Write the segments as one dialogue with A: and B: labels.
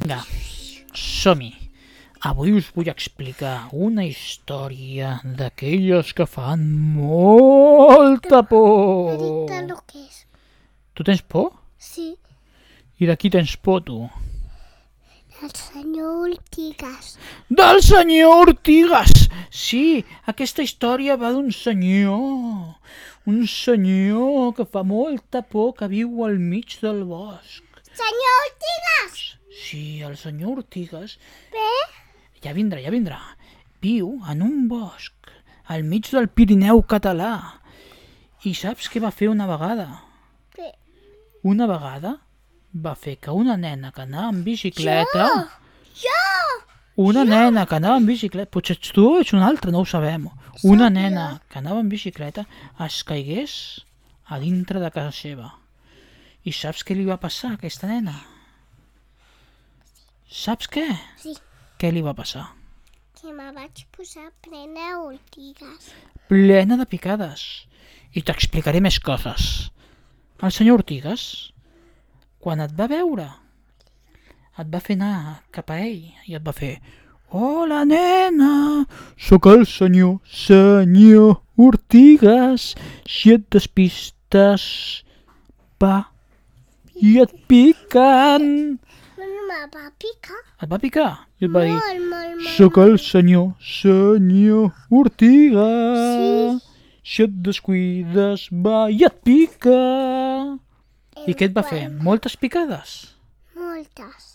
A: Vinga, som-hi. Avui us vull explicar una història d'aquelles que fan molta por.
B: Ahorita lo que es.
A: Tu tens por?
B: Sí,
A: I de qui tens por, tu?
B: el senyor Ortigas.
A: Del senyor Ortigas! Sí, aquesta història va d'un senyor. Un senyor que fa molta por que viu al mig del bosc.
B: Senyor Ortigas!
A: Sí, el senyor Ortigas
B: Bé?
A: Ja vindrà, ja vindrà. Viu en un bosc, al mig del Pirineu català. I saps què va fer una vegada?
B: Bé.
A: Una vegada va fer que una nena que anava en bicicleta...
B: Jo!
A: Una nena que anava en bicicleta... Potser ets tu o ets una altra, no ho sabem. Una nena que anava en bicicleta es caigués a dintre de casa seva. I saps què li va passar a aquesta nena? Saps què?
B: Sí,
A: Què li va passar?
B: que me vaig posar plena Ortigas.
A: plena de picades. I t'explicaré més coses. El senyor Ortigas, quan et va veure, et va fer anar cap a ell i et va fer Hola, nena! Sóc el senyor, senyor Ortigas. Si et despistes, va i et piquen.
B: Bueno, me va picar
A: Et va picar i et va dir
B: molt, molt, molt.
A: Sóc el senyor, senyor Ortigas. Si et descuides, va i et pica. I què et va fer? Moltes picades.
B: Moltes.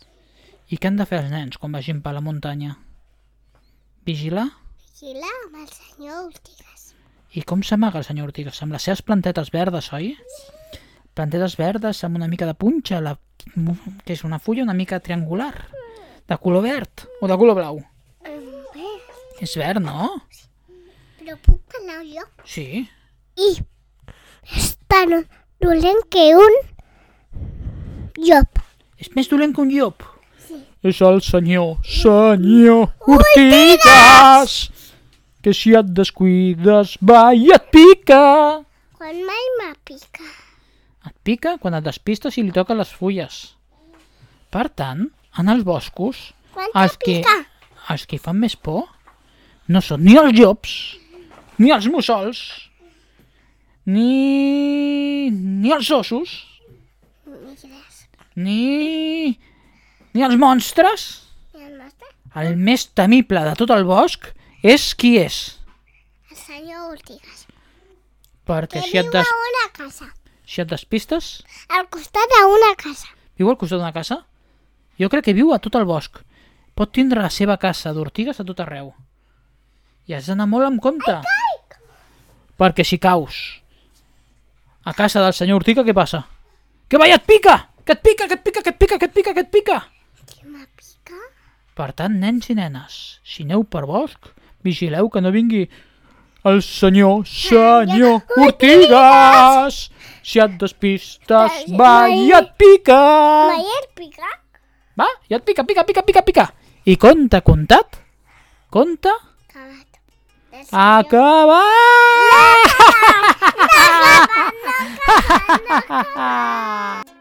A: I què han de fer els nens quan vagin per la muntanya? Vigilar?
B: Vigila amb el senyor Ortigas.
A: I com s'amaga el senyor Ortigas? Amb les seves plantetes verdes, oi? Plantetes verdes amb una mica de punxa, la... que és una fulla una mica triangular, de color verd o de color blau.
B: Em Bé,
A: És verd, no?
B: però puc anar jo?
A: Sí.
B: I és tan dolent que un llop.
A: És més dolent que un llop.
B: Sí.
A: És el senyor, senyor Ortigas, que si et descuides va i et pica.
B: Quan mai me pica.
A: Et pica quan et despistes i li toquen les fulles. Per tant, en els boscos,
B: Quan te
A: els que,
B: pica?
A: els que fan més por no són ni els llops, ni els mussols, ni, ni els ossos,
B: Ni res.
A: ni, ni els monstres,
B: I el nostre?
A: El més temible de tot el bosc és qui és.
B: El senyor Ortigas.
A: Perquè
B: Que
A: si et,
B: viu
A: des...
B: a una casa.
A: si et despistes,
B: Al costat d'una casa.
A: viu al costat d'una casa? Jo crec que viu a tot el bosc. Pot tindre la seva casa d'ortigues a tot arreu. I has d'anar molt amb compte. Perquè si caus a casa del senyor Ortiga, què passa? Que va i et pica! Que et pica, que et pica, que et pica, que et pica, que et pica!
B: Que me pica?
A: Per tant, nens i nenes, si aneu per bosc, vigileu que no vingui el senyor, senyor Ortigas! Si et despistes, va i et pica!
B: Maier pica?
A: Va, i et pica, pica, pica, pica, pica! I conta comptat, conta
B: Acabat. El senyor-
A: acabat!